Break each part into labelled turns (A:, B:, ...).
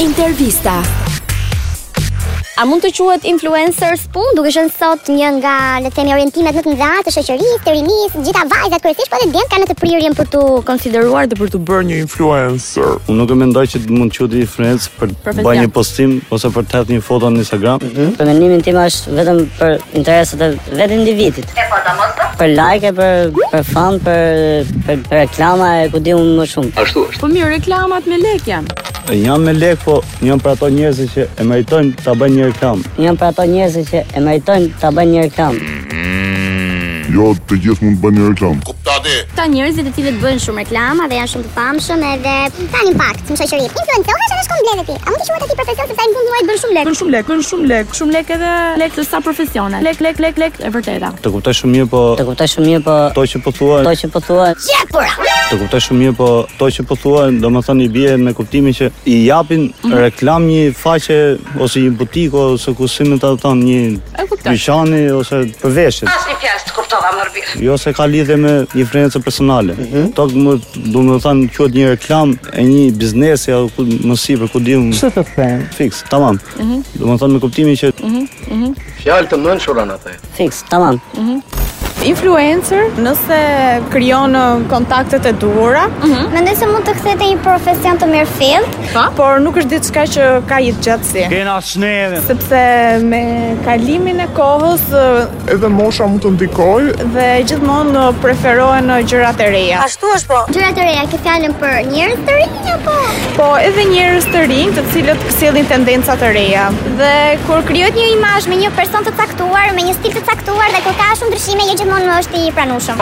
A: Intervista.
B: A mund të quhet influencer spun?
C: Duke qenë sot një nga le të themi orientimet më të mëdha të shoqërisë, të rinisë, gjitha vajzat kryesisht po dhe djemt kanë të prirjen për tu
B: Konsideruar dhe për të bërë një
A: Influencer.
D: Unë nuk e mendoj që mund të quhet influencer për të
B: Profesional.
D: bëj një postim ose për të hedhë një foto në Instagram.
E: Për mendimin tim është vetëm për interesat e vetë individit. E po mos Për like, për për fan, për për, për reklama e ku di unë më shumë.
B: Po mirë, reklamat me lek janë.
D: Jam me lek, po jam për ato njerëz që e meritojnë ta bëjnë një reklam.
E: Jam për ato njerëz që e meritojnë ta bëjnë një reklam.
F: Jo, të gjithë mund të bëni reklam.
B: Këta njerëzit e cilët bëjnë shumë
C: reklama dhe janë shumë të famshëm edhe kanë impakt në shoqëri. Influenceresh edhe shkon blenë ti. A mund të quhet aty profesion sepse ai në fund muajit bën shumë lekë?
B: Bën shumë lek, bën shumë lek, shumë lek edhe lek të sa profesional. Lek, lek, lek, lek, e vërteta.
D: Të kuptoj shumë mirë, po
E: Të kuptoj shumë mirë, po
D: to që po thua,
E: ato që po thua,
D: të kuptoj shumë mirë, po to që po thua, domethënë i bie me kuptimin që i japin reklam një faqe ose një butikë ose ku si më ta thon një
B: E kuptoj.
D: dyqani ose për veshje.
G: Asnjë fjalë të kuptova më mirë.
D: Jo se ka lidhje me influencë personale. To më do të thënë quhet një reklam e një biznesi apo ku më sipër ku diun. Ç'të të them? Mhm. Fiks, tamam. Do të thënë me kuptimin që
H: Fjalë të mënshura në the.
E: fiks, tamam.
I: Influencer, nëse krijon ë, kontaktet e duhura,
C: Hmm? Mendoj se mund të kthehet në një profesion të mirë fill.
I: por nuk është diçka që ka jetë gjatësi. Kena sneve. Sepse me kalimin e kohës ë,
A: Edhe mosha mund të ndikoj.
I: dhe gjithmonë ë, preferohen ë, gjërat e reja.
G: Ashtu është po.
C: Gjëra të reja ke fjalën për njerëz të rinj apo?
I: Po edhe njerëz të rinj, të cilët sjellin tendenca të reja.
C: Dhe kur krijohet një imazh me një person të caktuar, me një stil të caktuar dhe kur ka shumë ndryshime, jo gjithmonë është i pranueshëm.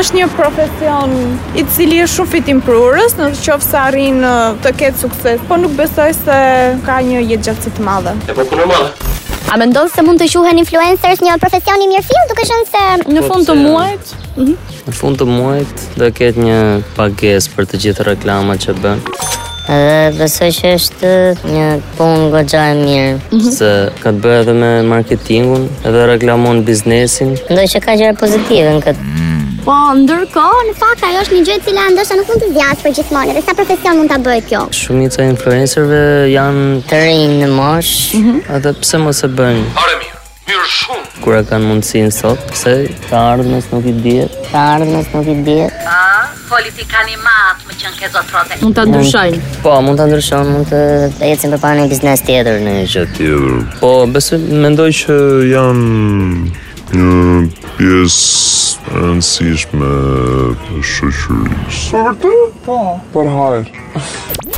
I: Është një profesion i cili është shumë fitim prurës, në qoftë se arrin ë, të ketë sukses, po nuk besoj se ka një jetë gjatësi të madhe.
B: A mendon se mund të
C: Quhen influencers një profesion i mirë fill, duke qenë se
B: Në fund të muajit,
J: Në fund të muajit do ketë një pagesë për të gjithë reklamat që bën,
E: Edhe besoj që është një punë goxha e mirë.
J: se ka të bëjë edhe me marketingun, edhe reklamon biznesin.
E: Mendoj që ka gjëra pozitive në këtë.
C: Po, ndërkohë, në fakt ajo është një gjë e cila ndoshta nuk mund të zgjasë për gjithmonë, edhe sa profesion mund ta bëj kjo.
J: Shumica e influencerëve janë
E: Të rinj në moshë,
J: edhe pse mos e bëjnë. Are mirë. Mirë shumë. Kur e kanë mundësinë sot, pse të ardhmës nuk i dihet.
E: të ardhmës nuk i dihet.
G: A, politikani matë më qënë ke zotrote.
B: mund ta ndryshojnë.
E: Po, mund ta ndryshon, mund të të ecim përpara një biznes tjetër në një gjë.
J: Po, besoj mendoj që janë
F: Një pjesë e rëndësishme e shoqërisë.
A: Për hajër.